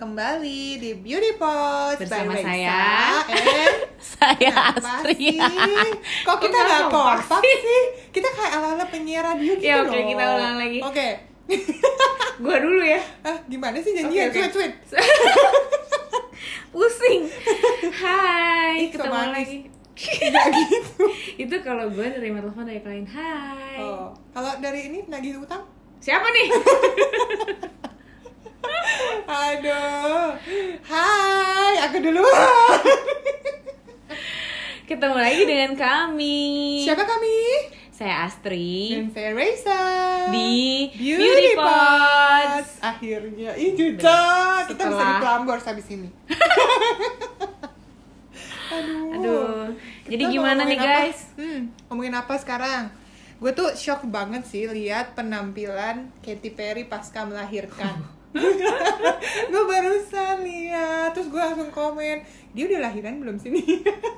kembali di Beauty Post Bersama by saya. Raisa and- Saya Kenapa Astri. sih? Kok kita Kok nggak nggak kompak kompak sih? Kita kayak ala-ala penyiar radio gitu Ya, oke, dong. kita ulang lagi. Oke. Gua dulu ya. Ah, gimana sih janjian? Oke, oke. Cuit, cuit. Pusing. Hai, Ih, so ketemu manis. lagi. Iya, gitu. Itu kalau gue nerima telepon dari klien, "Hai." Oh. Kalau dari ini nagih utang? Siapa nih? Aduh. Hai, aku dulu. Ketemu lagi dengan kami. Siapa kami? Saya Astri Dan saya Raisa. di Beauty, Beauty Pods. Pods. Akhirnya, ih juta, kita bisa Setelah- di Prambors habis ini. Aduh. Aduh. Jadi Kita mau gimana nih, ngomongin apa? guys? Hmm, ngomongin apa sekarang? Gue tuh shock banget sih lihat penampilan Katy Perry pasca melahirkan. gue barusan lihat, terus gue langsung komen, dia udah lahiran belum sini?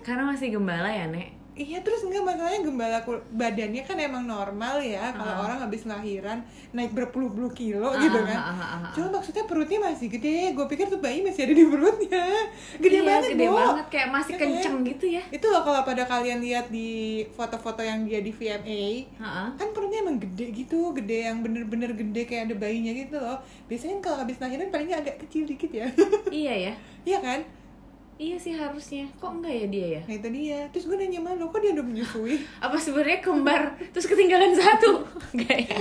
Karena masih gembala ya, Nek. Iya terus enggak masalahnya gembala kul- badannya kan emang normal ya kalau Ah. orang habis lahiran naik berpuluh-puluh kilo Ah, gitu ah, kan. ah, ah, ah. Cuma maksudnya perutnya masih gede. Gue pikir tuh bayi masih ada di perutnya. Iya, Gede banget, gede Bo. banget kayak masih Iya kan? kenceng gitu ya. Itu loh kalau pada kalian lihat di foto-foto yang dia di VMA, Heeh. kan perutnya emang gede gitu, gede yang bener-bener gede kayak ada bayinya gitu loh. Biasanya kan kalau habis lahiran palingnya agak kecil dikit ya. Iya ya. Iya kan? Iya sih harusnya. Kok enggak ya dia ya? Nah itu dia. Terus gue nanya malu, kok dia udah menyusui? Apa sebenarnya kembar terus ketinggalan satu? Enggak ya.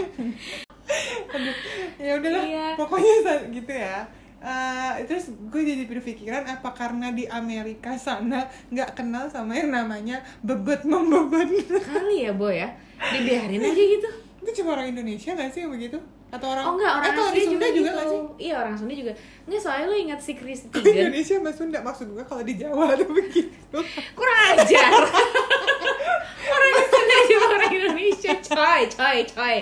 ya udahlah Iya. pokoknya sa- gitu ya Eh, terus gue jadi berpikiran apa karena di Amerika sana nggak kenal sama yang namanya bebet membebet Kali ya, Boy ya. Dibiarin aja gitu. itu cuma orang Indonesia nggak sih yang begitu atau Oh orang enggak, orang eh, kalau di Sunda Sunda juga, nggak gitu. sih Oh, iya, Iya, orang Sunda juga. Enggak, soalnya lu ingat si Chris Kok Tigan. Indonesia sama Sunda maksud gue kalau di Jawa tuh begitu Kurang ajar. orang Sunda juga orang Indonesia. Coy, coy, coy.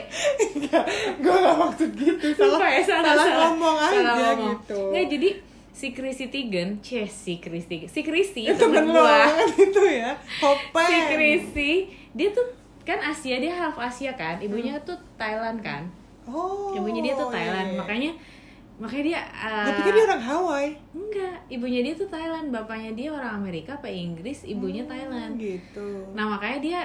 Enggak, Ya, gue nggak maksud gitu Lupa salah ya, salah, salah salah. ngomong aja Salah ngomong. gitu Nggak, jadi si Chrissy Teigen, ceh si Chris Tigan. Si Chrissy, itu temen gua. itu ya Hopen si Chrissy, dia tuh kan Asia, dia half Asia kan. Ibunya Hmm. tuh Thailand kan. oh Ibunya dia tuh iya, Thailand, iya. makanya makanya dia uh, gue pikir dia orang Hawaii enggak ibunya dia tuh Thailand bapaknya dia orang Amerika apa Inggris ibunya Hmm, Thailand gitu nah makanya dia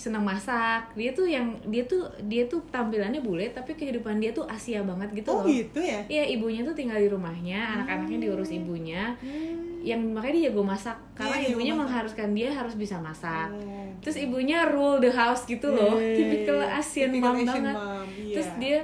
senang masak dia tuh yang dia tuh dia tuh tampilannya bule tapi kehidupan dia tuh Asia banget gitu oh loh gitu ya iya ibunya tuh tinggal di rumahnya anak-anaknya diurus ibunya Hmm. yang makanya dia jago masak karena Iya, dia ibunya jago masak. mengharuskan dia harus bisa masak Oh. Iya, terus ibunya rule the house gitu loh Yeay. tipikal Asian Typical mom Hmm. Asian banget mom, iya. terus dia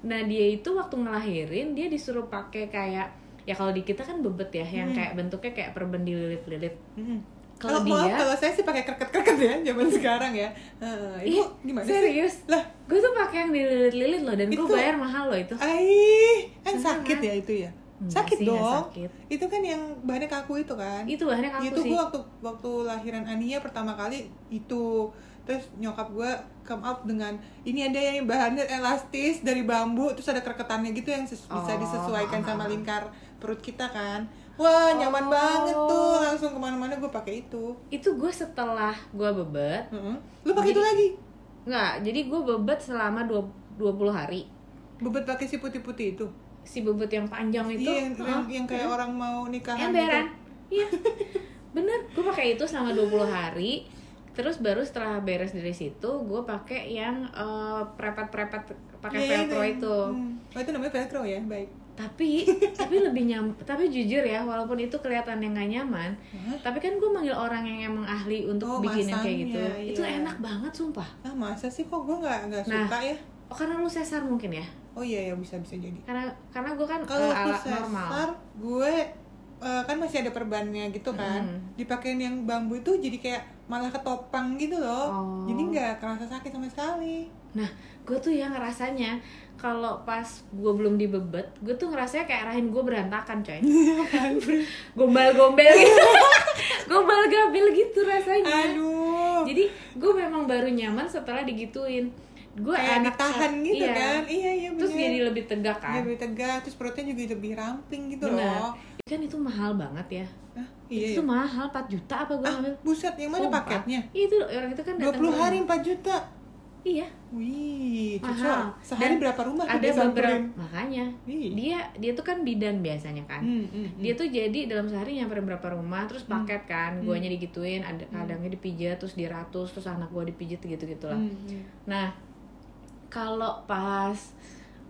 nah dia itu waktu ngelahirin dia disuruh pakai kayak ya kalau di kita kan bebet ya yang Hmm. kayak bentuknya kayak perben dililit-lilit Mm. Kalau kalau maaf dia- kalau saya sih pakai kerket-kerket ya zaman sekarang ya Eh, Ih, itu gimana sih serius lah gue tuh pakai yang dililit-lilit loh dan gue Itu- bayar mahal loh itu ai kan Beneran. sakit ya itu ya Enggak sakit sih, enggak dong sakit. itu kan yang bahannya kaku itu kan itu bahannya kaku itu sih gue waktu waktu lahiran Ania pertama kali itu terus nyokap gue come up dengan ini ada yang bahannya elastis dari bambu terus ada kereketannya gitu yang ses- bisa Oh, disesuaikan ah, sama ah. lingkar perut kita kan wah nyaman Oh. banget tuh langsung kemana-mana gue pakai itu itu gue setelah gue bebet Heeh. lu pakai itu Jadi- lagi nggak jadi gue bebet selama dua 20 hari bebet pakai si putih-putih itu si bebet yang panjang Oh, itu iya yang, heeh. yang, yang kayak orang mau nikahan emberan gitu. iya bener gue pakai itu selama 20 hari terus baru setelah beres dari situ gue pakai yang eh, prepet-prepet pakai Iya, iya, velcro iya. itu Hmm. oh itu namanya velcro ya baik tapi tapi lebih nyam tapi jujur ya walaupun itu kelihatan yang gak nyaman Hah? tapi kan gue manggil orang yang emang ahli untuk Oh, bikin yang kayak gitu masangnya, itu iya. enak banget sumpah ah masa sih kok gue nggak nggak Nah. suka ya oh karena lu sesar mungkin ya oh iya ya bisa bisa jadi karena karena gue kan eh, kalau waktu ala normal sesar gue eh, kan masih ada perbannya gitu kan Mm. dipakein yang bambu itu jadi kayak malah ketopang gitu loh Oh. jadi nggak kerasa sakit sama sekali Nah, gue tuh yang ngerasanya kalau pas gue belum dibebet, gue tuh ngerasanya kayak rahim gue berantakan, coy. Gombal-gombel gitu. Gombal-gabel gitu rasanya. Iya. aduh Jadi gue memang baru nyaman setelah digituin. Gue kayak enak ditahan saat- gitu iya. kan iya iya Terus bener. jadi lebih tegak kan. lebih tegak terus perutnya juga lebih ramping gitu Benar. loh Kan itu mahal banget ya. Hah, itu iya ya. tuh mahal 4 juta apa gue ah ngambil? buset yang mana Sumpah. paketnya Iya, Itu orang itu kan datang 20 ke- hari 4 juta Iya, Wih, Mahal. cocok. Sehari Dan berapa rumah tuh ada dia beberapa samperin? makanya. Ih. Dia dia tuh kan bidan biasanya kan. Hmm, hmm, hmm. dia tuh jadi dalam sehari nyamperin berapa rumah terus paket kan guanya digituin ada Hmm. kadangnya dipijat terus diratus terus anak gua dipijat gitu gitulah Hmm, hmm. nah kalau pas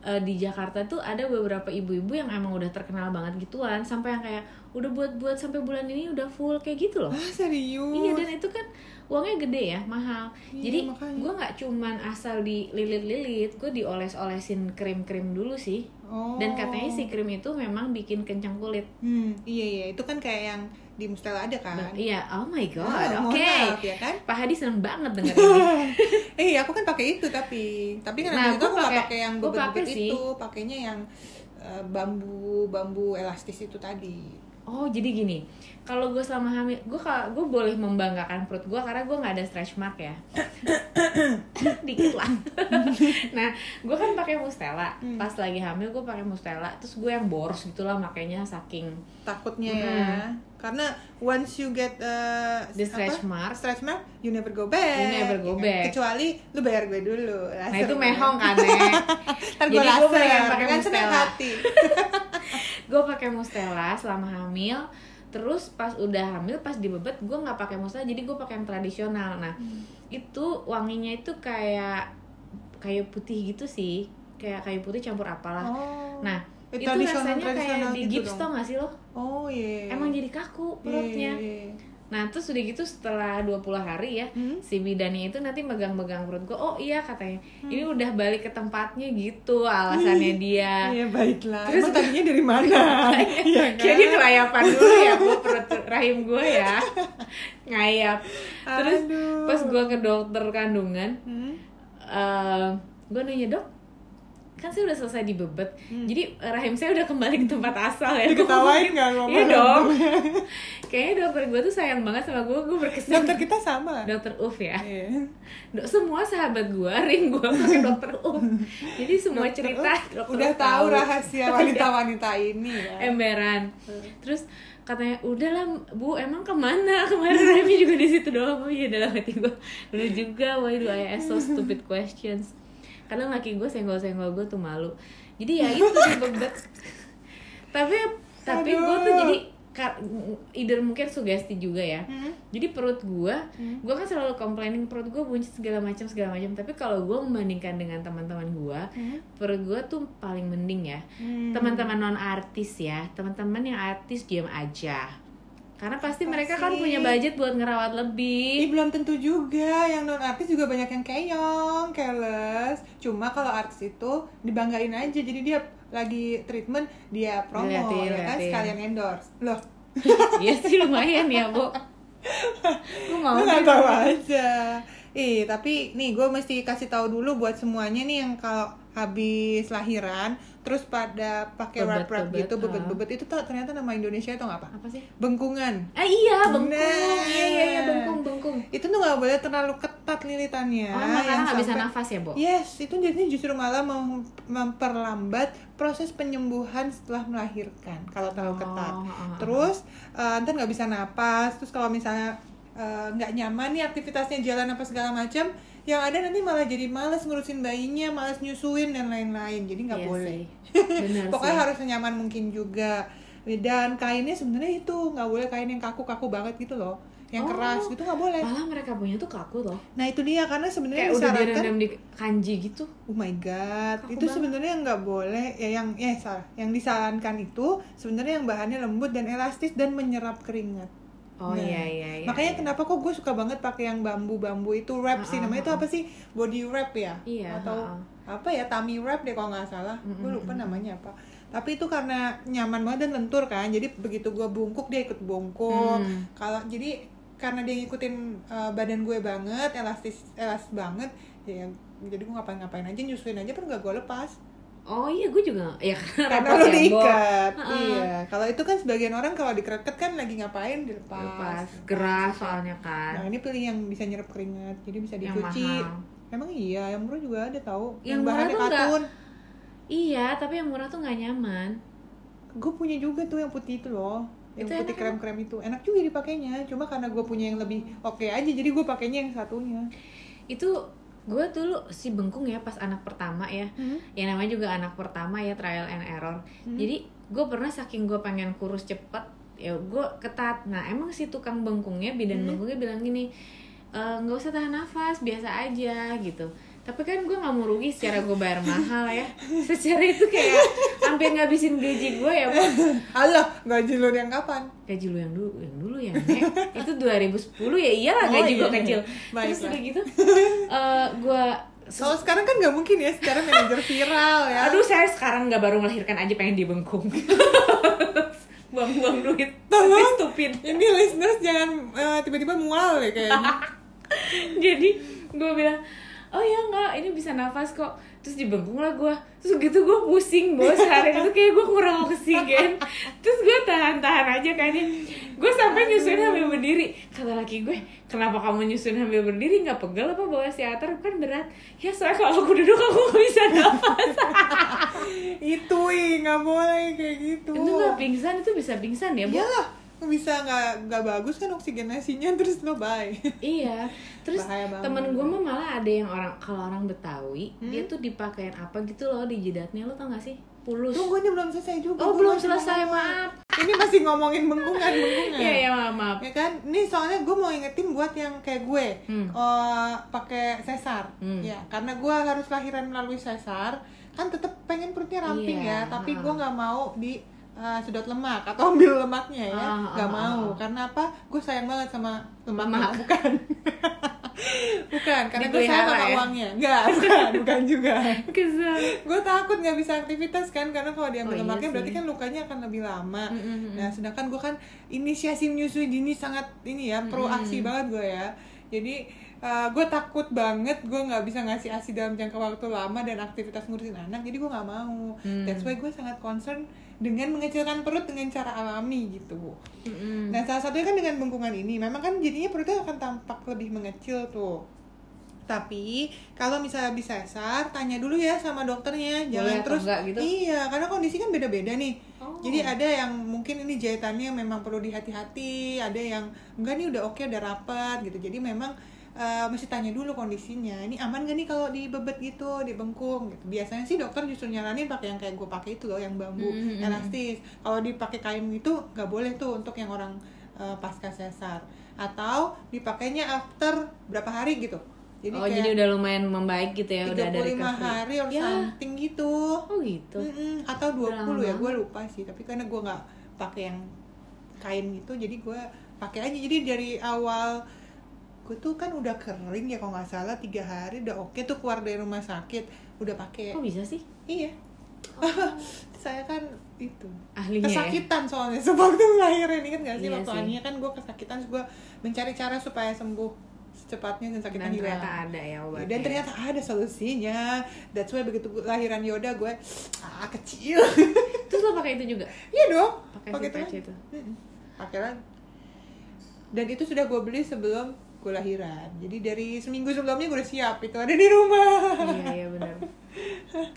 eh, di Jakarta tuh ada beberapa ibu-ibu yang emang udah terkenal banget gituan sampai yang kayak udah buat-buat sampai bulan ini udah full kayak gitu loh Ah, serius? Iya dan itu kan uangnya gede ya mahal. Iya, Jadi makanya. gue nggak cuman asal dililit-lilit, gue dioles-olesin krim-krim dulu sih. Oh. Dan katanya si krim itu memang bikin kencang kulit. Hmm, iya iya, itu kan kayak yang di Mustela ada kan? Ba- Iya, oh my god, Ah, mohon oke. maaf, ya kan? Pak Hadi seneng banget denger ini. Eh, aku kan pakai itu tapi tapi kan Nah, waktu itu gua aku nggak pakai- pakai yang gua bebet-bebet pakai sih. itu, pakainya yang eh, bambu bambu elastis itu tadi. Oh jadi gini, kalau gue selama hamil, gue gue boleh membanggakan perut gue karena gue nggak ada stretch mark ya, dikit lah. nah, gue kan pakai mustela, Hmm. pas lagi hamil gue pakai mustela, terus gue yang boros gitulah makanya saking Takutnya ya, karena once you get eh, The stretch mark. stretch mark, you never go back. You never go ya kan? back. Kecuali lu bayar gue dulu. Nah laser itu gue. mehong kan Nek. Ntar Jadi gue gue laser, pengen pakai kan senang Mustela. hati. Gue pakai mustela selama hamil Terus pas udah hamil, pas dibebet gue nggak pakai mustela Jadi gue pakai yang tradisional Nah Hmm. itu wanginya itu kayak kayu putih gitu sih Kayak kayu putih campur apalah Oh. Nah Eh, itu tradisional- rasanya kayak tradisional di gitu gips dong. tau gak sih lo? Oh iya. Emang jadi kaku Iya, perutnya iya, iya. Nah terus udah gitu setelah 20 hari ya Hmm? Si bidannya itu nanti megang-megang perut gue Oh iya katanya Hmm. Ini udah balik ke tempatnya gitu alasannya dia Iya baiklah. Nah. Terus gitu. Terus tadinya dari mana? Iya kan? Jadi kelayapan dulu ya gue perut rahim gue ya ngayap. Terus Aduh. pas gue ke dokter kandungan, eh, Hmm? gue nanya dok, kan saya udah selesai dibebet, jadi eh, rahim saya udah kembali ke tempat asal ya. Gua Hmm. Diketawain ngomong, nggak ngomong? Iya dong. Kayaknya dokter gue tuh sayang banget sama gue, gue berkesan. Dokter kita sama. Dokter Uf ya, Iya. Dok, semua sahabat gue ring gue pakai dokter Uf, jadi semua Dokter cerita Ut dokter udah Ut tahu rahasia wanita-wanita ini ya. emberan Hmm. terus katanya udahlah bu emang kemana kemarin Rami juga di situ doang oh iya dalam hati gue lu juga why do I ask so stupid questions kadang laki gue senggol-senggol gue tuh malu jadi ya itu dibebet tapi tapi gue tuh Aduh. jadi ka- either mungkin sugesti juga ya Hmm? jadi perut gue gue kan selalu complaining perut gue buncit segala macam segala macam tapi kalau gue membandingkan dengan teman-teman gue Hmm? perut gue tuh paling mending ya Hmm. teman-teman non artis ya teman-teman yang artis diam aja karena pasti Apa mereka kan sih? Iya. punya budget buat ngerawat Ih, lebih belum tentu juga yang non artis juga banyak yang keong, keles. Cuma kalau artis itu dibanggain aja, jadi dia lagi treatment dia promo, Diliatin, ya kan diliatin. sekalian endorse. Loh, Iya sih lumayan ya bu gue mau lu nggak deh. tahu aja. Ih, tapi nih gue mesti kasih tahu dulu buat semuanya nih yang kalau habis lahiran terus pada pakai wrap wrap Bebet-bebet, gitu ah. bebet-bebet itu tuh ternyata nama Indonesia itu apa? apa sih Bengkungan. ah Nah. iya bengkung Bener. iya iya iya bengkung bengkung Itu tuh nggak boleh terlalu ketat lilitannya. oh emang karena Ya, yang nggak bisa sampai- iya, nafas ya bu Yes, itu jadinya justru malah mem- memperlambat proses penyembuhan setelah melahirkan kalau terlalu ketat. Oh, oh, oh. Terus eh, ntar nggak bisa napas, terus kalau misalnya eh, nggak nyaman nih aktivitasnya jalan apa segala macam, yang ada nanti malah jadi males ngurusin bayinya, males nyusuin dan lain-lain. Jadi nggak Iya boleh. sih. bener Pokoknya sih. harus senyaman mungkin juga. Dan kainnya sebenarnya itu nggak boleh kain yang kaku-kaku banget gitu loh, yang Oh. keras gitu nggak boleh. malah mereka punya tuh kaku loh Nah itu dia karena kayak sebenarnya udah disarankan direndam di kanji gitu Oh my god, Kaku itu banget. sebenarnya nggak boleh ya yang ya salah, yang disarankan itu sebenarnya yang bahannya lembut dan elastis dan menyerap keringat. oh Nah, iya iya iya Makanya iya. kenapa kok gue suka banget pakai yang bambu-bambu itu wrap Ah, sih ah, namanya itu ah, apa sih? Body wrap ya? Iya, Atau ah, ah. apa ya? Tummy wrap deh kalau nggak salah. Mm, Gue mm, lupa namanya apa. Tapi itu karena nyaman banget dan lentur kan. Jadi begitu gue bungkuk dia ikut bungkuk. Hmm. Kalau jadi karena dia ngikutin uh, badan gue banget, elastis elastis banget, ya jadi gue ngapain-ngapain aja nyusuin aja pun gak gue lepas oh iya gue juga ya karena repot lo ya, Bu. diikat Ah, ah. iya kalau itu kan sebagian orang kalau dikereket kan lagi ngapain dilepas lepas geras soalnya kan Nah ini pilih yang bisa nyerap keringat, jadi bisa Yang dicuci. mahal. Emang iya, yang murah juga ada tahu. Yang murah bahannya tuh enggak- katun. Iya, tapi yang murah tuh nggak nyaman. Gue punya juga tuh yang putih itu loh. Itu Yang enak putih krem-krem itu enak juga dipakainya. Cuma karena gue punya yang lebih oke aja, jadi gue pakainya yang satunya. Itu gue dulu si bengkung ya pas anak pertama ya ya namanya juga anak pertama ya trial and error Hmm. jadi gue pernah saking gue pengen kurus cepet ya gue ketat nah emang si tukang bengkungnya bidan Hmm. bengkungnya bilang gini "E, nggak usah tahan nafas biasa aja gitu tapi kan gue nggak mau rugi secara gue bayar mahal ya secara itu kayak hampir ngabisin gaji gue ya Pak. Allah gaji lu yang kapan gaji lu yang dulu yang dulu ya Nek itu 2010 ya iyalah Oh, gaji iya. gue kecil Baiklah. terus udah gitu eh, gue kalau sekarang kan nggak mungkin ya sekarang manajer viral ya aduh saya sekarang nggak baru melahirkan aja pengen dibengkung buang-buang duit Tolong. tapi stupid ini listeners jangan eh, tiba-tiba mual ya kayaknya jadi gue bilang oh ya enggak ini bisa nafas kok terus dibengkung lah gue terus gitu gue pusing bos hari itu kayak gue kurang oksigen terus gue tahan-tahan aja kayaknya gue sampai nyusuin sambil berdiri kata laki gue kenapa kamu nyusuin sambil berdiri nggak pegel apa bawa siater kan berat ya soalnya kalau aku duduk aku nggak bisa nafas itu ih, nggak boleh kayak gitu itu nggak pingsan itu bisa pingsan ya bu iyalah bisa nggak nggak bagus kan oksigenasinya terus lo bye iya terus Bahaya banget. temen gue mah malah ada yang orang kalau orang Betawi dia Hmm? tuh dipakein apa gitu loh di jidatnya lo tau gak sih pulus tunggu ini belum selesai juga Oh gua belum masih selesai ngomong. maaf. ini masih ngomongin bengkungan bengkungan Iya ya maaf maaf. ya kan nih soalnya gue mau ingetin buat yang kayak gue Hmm. eh, pakai sesar Hmm. ya karena gue harus lahiran melalui sesar kan tetap pengen perutnya ramping Iya, ya tapi ha. gue nggak mau di eh, sedot lemak atau ambil lemaknya ya Ah, ah, nggak ah, mau ah. karena apa gue sayang banget sama lemaknya Lemak. bukan bukan karena gue sayang Dipelihara sama ya? uangnya nggak bukan bukan juga Kesel. gue takut nggak bisa aktivitas kan karena kalau diambil Oh, iya lemaknya sih. berarti kan lukanya akan lebih lama Mm, mm, mm. nah sedangkan gue kan inisiasi menyusui dini sangat ini ya proaksi banget gue ya jadi gue takut banget gue nggak bisa ngasih asi dalam jangka waktu lama dan aktivitas ngurusin anak jadi gue nggak mau Hmm. that's why gue sangat concern dengan mengecilkan perut dengan cara alami gitu Mm, mm. Nah, salah satunya kan dengan bengkungan ini, memang kan jadinya perutnya akan tampak lebih mengecil tuh. Tapi kalau misalnya habis sesar, tanya dulu ya sama dokternya, jangan atau terus. enggak gitu? Iya, karena kondisi kan beda-beda nih. Oh. Jadi ada yang mungkin ini jahitannya memang perlu dihati-hati, ada yang enggak nih udah oke, udah rapat gitu. Jadi memang eh, mesti tanya dulu kondisinya. Ini aman gak nih kalau dibebet gitu, dibengkung gitu. Biasanya sih dokter justru nyaranin pakai yang kayak gue pakai itu loh, yang bambu Mm, mm, mm. elastis. Kalau dipakai kain itu nggak boleh tuh untuk yang orang eh, pasca sesar. Atau dipakainya after berapa hari gitu. Jadi oh jadi kayak udah lumayan membaik gitu ya udah ada 35 recovery. hari or Ya. something gitu. Oh gitu. Mm-mm, atau 20 Udah lama ya gue lupa sih tapi karena gue nggak pakai yang kain gitu jadi gue pakai aja jadi dari awal gue tuh kan udah kering ya kalau nggak salah tiga hari udah oke tuh keluar dari rumah sakit udah pakai Kok bisa sih iya saya kan itu Oh. ahlinya? Ya? kesakitan soalnya sewaktu lahirin inget gak sih Iya waktu sih. Ania kan gue kesakitan terus gue mencari cara supaya sembuh secepatnya dan sakitnya Dan hilang ternyata ada ya obatnya. dan ternyata ada solusinya that's why begitu gua- lahiran Yoda gue ah kecil Terus lo pakai itu juga? Iya dong. Pakai si Pakai itu patch lagi. itu. Mm-mm. Pakai lagi. Dan itu sudah gue beli sebelum gue lahiran. Jadi dari seminggu sebelumnya gue udah siap itu ada di rumah. Iya iya benar.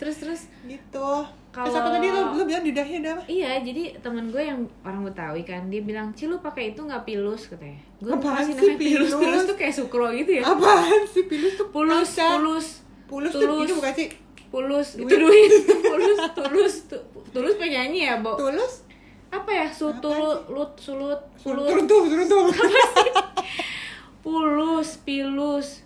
Terus terus Gitu. Terus Kalau- apa tadi lo, lo bilang lidahnya ada apa? Iya, jadi teman gue yang orang Betawi kan dia bilang, "Ci lu pakai itu nggak pilus," katanya. Gue Apaan pasti sih namanya pilus. pilus? Pilus tuh kayak sukro gitu ya. Apaan sih pilus tuh? Pulus, kaca. pulus. Pulus, tuh Tulus. ini bukan sih? Pulus, Duit. itu duit. Pulus, tulus, tu- tulus penyanyi ya, Bo. Tulus? Apa ya? Sutulu, lut, sulut, sulut, Seruntuh, seruntuh. pulus, pilus.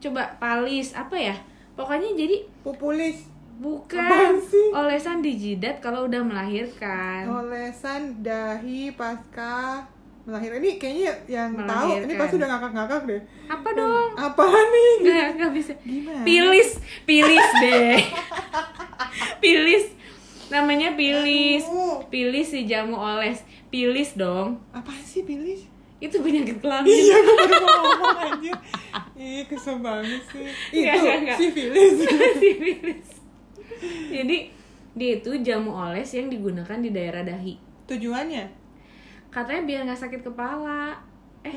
Coba palis, apa ya? Pokoknya jadi Populis. Apaan bukan sih? Oh. olesan di jidat kalau udah melahirkan. Olesan dahi pasca melahirkan. Ini kayaknya yang tahu ini Melahirkan. pasti udah ngakak-ngakak deh. Apa dong? Apaan nih? Nggak, nggak bisa. Gimana? Pilis, pilis deh. pilis. Namanya pilis. Aduh. Pilis si jamu oles. Pilis dong. Apaan sih pilis? Itu penyakit kelamin. Iya, gue baru mau ngomong anjir. Ih, kesel banget sih. Nggak, Itu nggak, nggak. sifilis. si pilis. Jadi dia itu jamu oles yang digunakan di daerah dahi. Tujuannya Katanya biar nggak sakit kepala. Eh,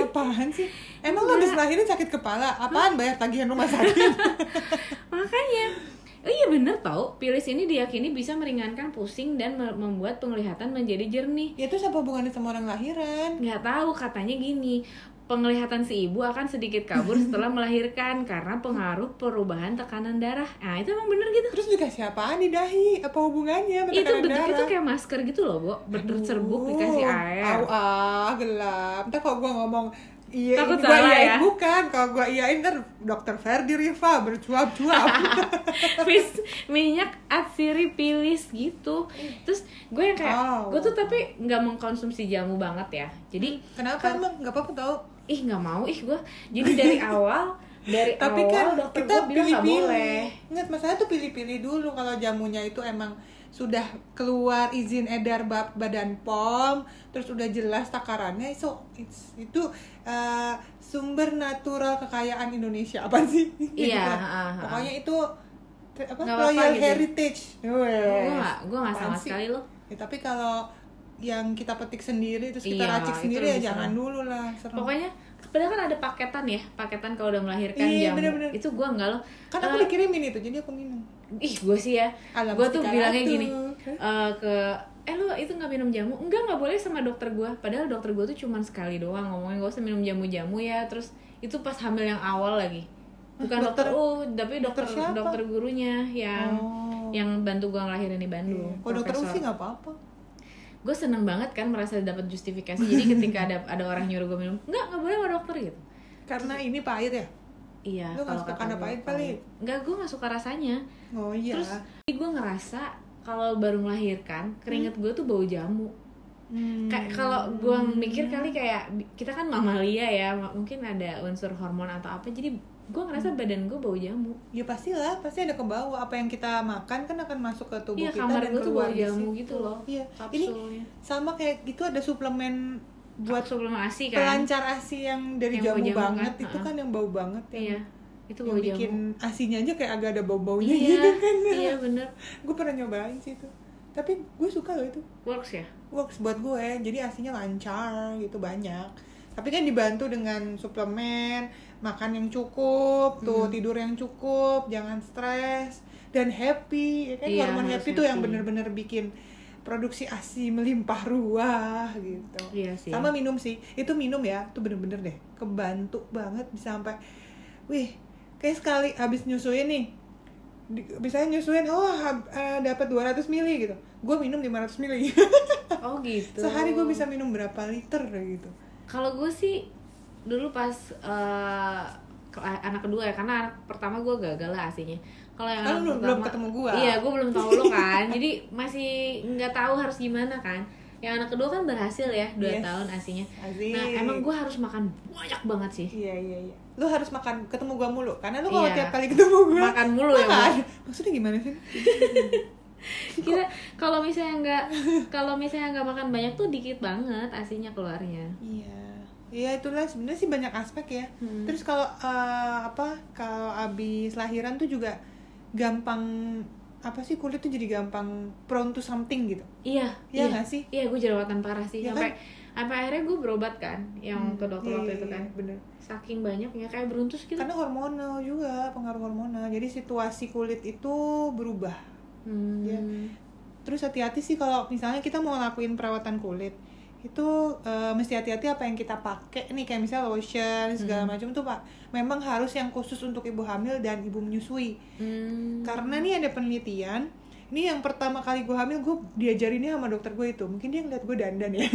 apaan sih? Emang lo habis lahirin sakit kepala? Apaan bayar tagihan rumah sakit? makanya. Oh iya bener tau, pilis ini diyakini bisa meringankan pusing dan me- membuat penglihatan menjadi jernih. ya terus apa hubungannya sama orang lahiran? nggak tahu katanya gini penglihatan si ibu akan sedikit kabur setelah melahirkan karena pengaruh perubahan tekanan darah. Nah, itu emang bener gitu. Terus dikasih apaan di dahi? Apa hubungannya sama Itu tekanan bentuknya darah? tuh kayak masker gitu loh, Bu. Bercerbuk Aduh, dikasih air. Oh, Au ah, gelap. Ntar kalau gue ngomong iya, Takut gua salah iyain. ya? bukan. Kalau gue iyain ntar dokter Ferdi Riva bercuap-cuap. Fis- minyak atsiri pilis gitu. Terus gue yang kayak Wow. gue tuh tapi nggak mengkonsumsi jamu banget ya. Jadi Kenapa Kan- emang nggak apa-apa tau? ih nggak mau ih gue. Jadi dari awal dari Tapi awal kan dokter kita gue bilang nggak boleh. pilih-pilih. Ingat masalah tuh pilih-pilih dulu kalau jamunya itu emang sudah keluar izin edar bab badan pom terus udah jelas takarannya so it's- itu eh, sumber natural kekayaan Indonesia apa sih Iya, Gitu. ah, ah. pokoknya itu te- apa Nggak apa-apa royal gitu. heritage Gue Wes. nggak gue nggak sama Apaan sih? sekali loh. Ya, tapi kalau yang kita petik sendiri terus kita Iya, racik itu sendiri ya lebih jangan serem. dulu lah serem. Pokoknya padahal kan ada paketan ya, paketan kalau udah melahirkan Iya, jamu. bener-bener. Itu gue nggak loh. kan aku Eh, dikirimin itu jadi aku minum ih gue sih ya Alam gue tuh 300. bilangnya gini eh, ke eh lu itu nggak minum jamu enggak nggak boleh sama dokter gue padahal dokter gue tuh cuman sekali doang ngomongnya gak usah minum jamu jamu ya terus itu pas hamil yang awal lagi bukan Hah, dokter, dokter- oh tapi dokter dokter dokter, siapa? gurunya yang Oh. yang bantu gue ngelahirin di Bandung Kalau dokter Ufi nggak apa-apa. gue seneng banget kan merasa dapat justifikasi jadi ketika ada ada orang nyuruh gue minum enggak nggak boleh sama dokter gitu Karena ini pahit ya. iya Lu nggak kalau suka kata karena gua, pahit kali? enggak gue nggak suka rasanya Oh iya. Terus gue ngerasa kalau baru melahirkan keringet gue tuh bau jamu. Hmm. Kayak kalau gue mikir kali kayak bi- kita kan mamalia ya, ma- mungkin ada unsur hormon atau apa. Jadi gue ngerasa Hmm. badan gue bau jamu. ya pastilah, pasti ada ke bawah. Apa yang kita makan kan akan masuk ke tubuh Iya kita kamar dan gue tuh keluar bau di jamu situ. gitu loh. Iya. Ini Kapsulnya. sama kayak gitu ada suplemen buat buat sebelum ASI kan. pelancar ASI yang dari Yang bau jamu, jamu banget kan, itu ha-ha. kan yang bau banget yang, Iya. Itu yang bau bikin jamu. asinya aja kayak agak ada bau-baunya Iya. gitu kan. Iya bener. Gue pernah nyobain sih itu. Tapi gue suka loh itu. Works ya. works buat gue jadi asinya lancar gitu banyak tapi kan dibantu dengan suplemen makan yang cukup tuh Mm-hmm. tidur yang cukup jangan stres dan happy ya kan Iya, hormon harus happy, tuh yang happy. bener-bener bikin produksi asi melimpah ruah gitu Iya sih. sama minum sih itu minum ya tuh bener-bener deh kebantu banget bisa sampai wih kayak sekali habis nyusuin nih di- misalnya nyusuin oh hab- eh, dapat 200 mili gitu gue minum 500 mili Oh gitu. sehari gue bisa minum berapa liter gitu Kalau gue sih dulu pas eh, ke- anak kedua ya karena anak pertama gue gagal lah aslinya. Kalau yang Kan anak lu pertama, belum ketemu gua. Nah, Iya, gue belum tahu lo kan. Jadi masih nggak tahu harus gimana kan. Yang anak kedua kan berhasil ya dua Yes. tahun asinya. Asik. Nah emang gue harus makan banyak banget sih. iya iya iya lu harus makan ketemu gue mulu karena lu kalau Iya. tiap kali ketemu gue Makan mulu ya, maksudnya gimana sih Kita kalau misalnya nggak kalau misalnya nggak makan banyak tuh dikit banget asinya keluarnya. iya iya itulah sebenarnya sih banyak aspek ya Hmm. terus kalau eh, apa kalau abis lahiran tuh juga gampang apa sih kulit tuh jadi gampang prone to something gitu Iya, Iya nggak sih? Iya, gue jerawatan parah sih. Iya sampai sampai akhirnya gue berobat kan, yang ke dokter Iya, waktu iya, itu kan. iya, bener saking banyaknya kayak beruntus gitu karena hormonal juga pengaruh hormonal jadi situasi kulit itu berubah hmm. Iya. terus hati-hati sih kalau misalnya kita mau lakuin perawatan kulit itu eh, mesti hati-hati apa yang kita pakai nih kayak misalnya lotion Hmm. segala macam tuh pak memang harus yang khusus untuk ibu hamil dan ibu menyusui Hmm. karena nih ada penelitian ini yang pertama kali gue hamil gue diajarinnya sama dokter gue itu mungkin dia ngeliat gue dandan ya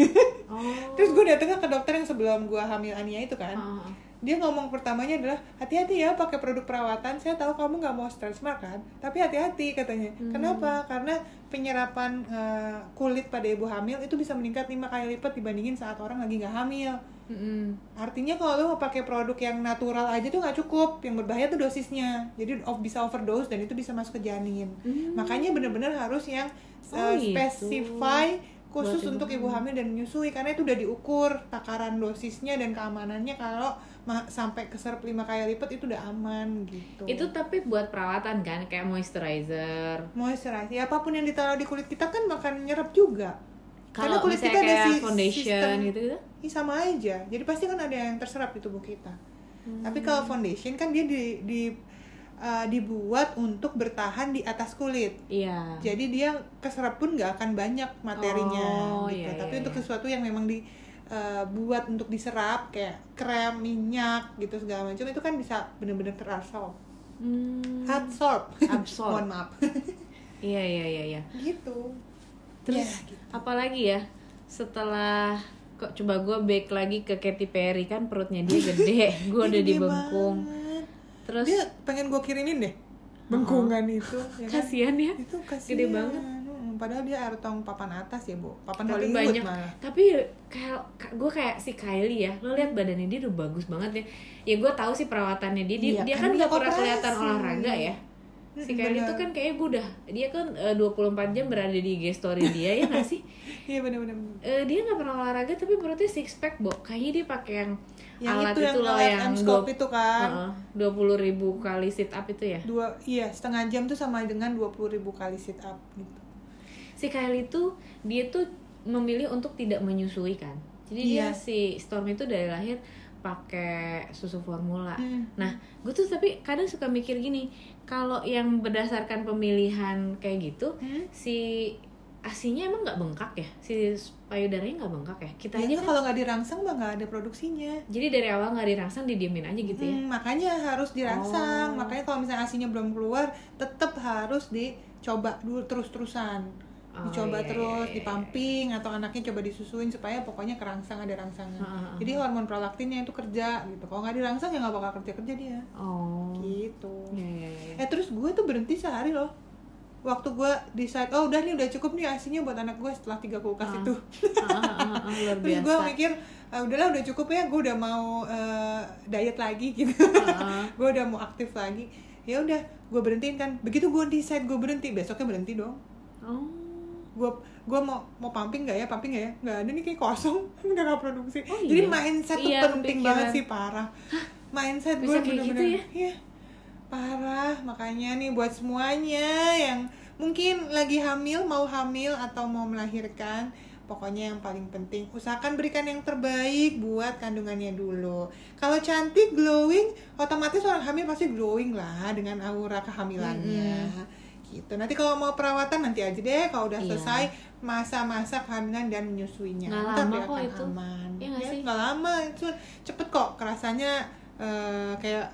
oh terus gue datangnya ke dokter yang sebelum gue hamil Ania itu kan Ah. dia ngomong pertamanya adalah hati-hati ya pakai produk perawatan saya tahu kamu nggak mau stress makan tapi hati-hati katanya kenapa karena penyerapan eh, kulit pada ibu hamil itu bisa meningkat lima kali lipat dibandingin saat orang lagi nggak hamil Mm-mm. artinya kalau lu mau pakai produk yang natural aja tuh nggak cukup yang berbahaya tuh dosisnya jadi of bisa overdose dan itu bisa masuk ke janin Hmm. makanya bener-bener harus yang Oh, eh, gitu. specify khusus Buat ibu untuk ibu hamil dan menyusui karena itu udah diukur takaran dosisnya dan keamanannya kalau ma- sampai ke serp lima kali lipat itu udah aman gitu itu tapi buat perawatan kan kayak moisturizer moisturizer ya, apapun yang ditaruh di kulit kita kan makan nyerap juga kalau karena kulit misalnya kita ada kayak si- foundation sistem gitu gitu Ih, sama aja jadi pasti kan ada yang terserap di tubuh kita tapi kalau Hmm. foundation kan dia di, di eh, dibuat untuk bertahan di atas kulit iya jadi dia keserap pun nggak akan banyak materinya Oh, gitu iya, tapi iya, untuk iya. sesuatu yang memang di eh, buat untuk diserap kayak krem minyak gitu segala macam itu kan bisa bener-bener terabsorb Hmm. absorb Absorb. mohon maaf Iya iya iya iya. gitu Terus Ya, gitu. apalagi ya setelah kok coba gue back lagi ke Katy Perry kan perutnya dia gede, gue Dia udah gede dibengkung. banget. Terus dia pengen gue kirimin deh bengkungan itu ya kan? kasihan ya. itu kasihan. Gede banget. Mm, padahal dia air tong papan atas ya bu papan Tapi Hollywood banyak. malah Tapi ya, kayak gue kayak si Kylie ya, lo lihat badannya dia udah bagus banget ya. Ya gue tahu sih perawatannya dia, dia, Iya, dia kan kan dia gak pernah operasi. kelihatan olahraga ya. Si Mm, Kylie bener. itu kan kayaknya gue udah, dia kan eh, 24 jam berada di IG story dia ya gak sih? iya benar-benar Eh, dia nggak pernah olahraga tapi perutnya six pack, bo. Kayaknya dia pakai yang, yang alat itu yang loh alat M scope dua- itu Uh-uh. kan dua puluh ribu kali sit up itu ya dua iya setengah jam tuh sama dengan dua ribu kali sit up gitu si Kylie tuh dia tuh memilih untuk tidak menyusui kan jadi dia Iya. si Storm itu dari lahir pakai susu formula Hmm. nah gue tuh tapi kadang suka mikir gini kalau yang berdasarkan pemilihan kayak gitu Hmm? si asinya emang nggak bengkak ya si payudaranya nggak bengkak ya kita aja Biasanya kan kalau Iya, nggak dirangsang mah nggak ada produksinya jadi dari awal nggak dirangsang didiemin aja gitu ya Hmm, makanya harus dirangsang Oh. makanya kalau misalnya asinya belum keluar tetap harus dicoba dulu terus-terusan Oh, Hmm, dicoba iya, terus iya, iya, dipamping atau anaknya coba disusuin supaya pokoknya kerangsang ada rangsangan Ah, ah, ah. jadi hormon prolaktinnya itu kerja gitu kalau nggak dirangsang ya nggak bakal kerja kerja dia oh gitu iya iya iya eh terus gue tuh berhenti sehari loh waktu gue decide oh udah nih udah cukup nih asinya buat anak gue setelah tiga kulkas Ah. itu Ah, ah, ah, ah, ah, luar terus biasa gue mikir "Ah, udahlah udah cukup ya gue udah mau eh, diet lagi gitu Ah, ah. gue udah mau aktif lagi ya udah gue berhentiin kan begitu gue decide gue berhenti besoknya berhenti dong oh gue gue mau mau pumping nggak ya pumping nggak ya nggak ada nih kayak kosong udah nggak produksi Oh, jadi iya? mindset tuh Iya, penting kepikiran. banget sih parah mindset gue Bisa kayak gitu bener-bener Iya. parah makanya nih buat semuanya yang mungkin lagi hamil mau hamil atau mau melahirkan pokoknya yang paling penting usahakan berikan yang terbaik buat kandungannya dulu kalau cantik glowing otomatis orang hamil pasti glowing lah dengan aura kehamilannya gitu nanti kalau mau perawatan nanti aja deh kalau udah Iya. selesai masa-masa kehamilan dan menyusuinya Nggak Ntar lama dia kok akan itu. aman Iya nggak Ya, sih? nggak lama itu cepet kok kerasanya eh, kayak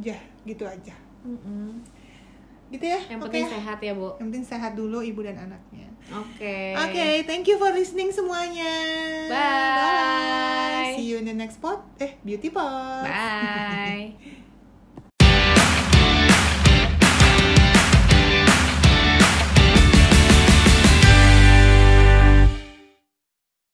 ya gitu aja Mm-mm. gitu ya Yang oke penting sehat ya, Bu. Oke. yang penting sehat dulu ibu dan anaknya oke thank you for listening semuanya Bye. Bye. see you in the next pod eh beauty pod Bye.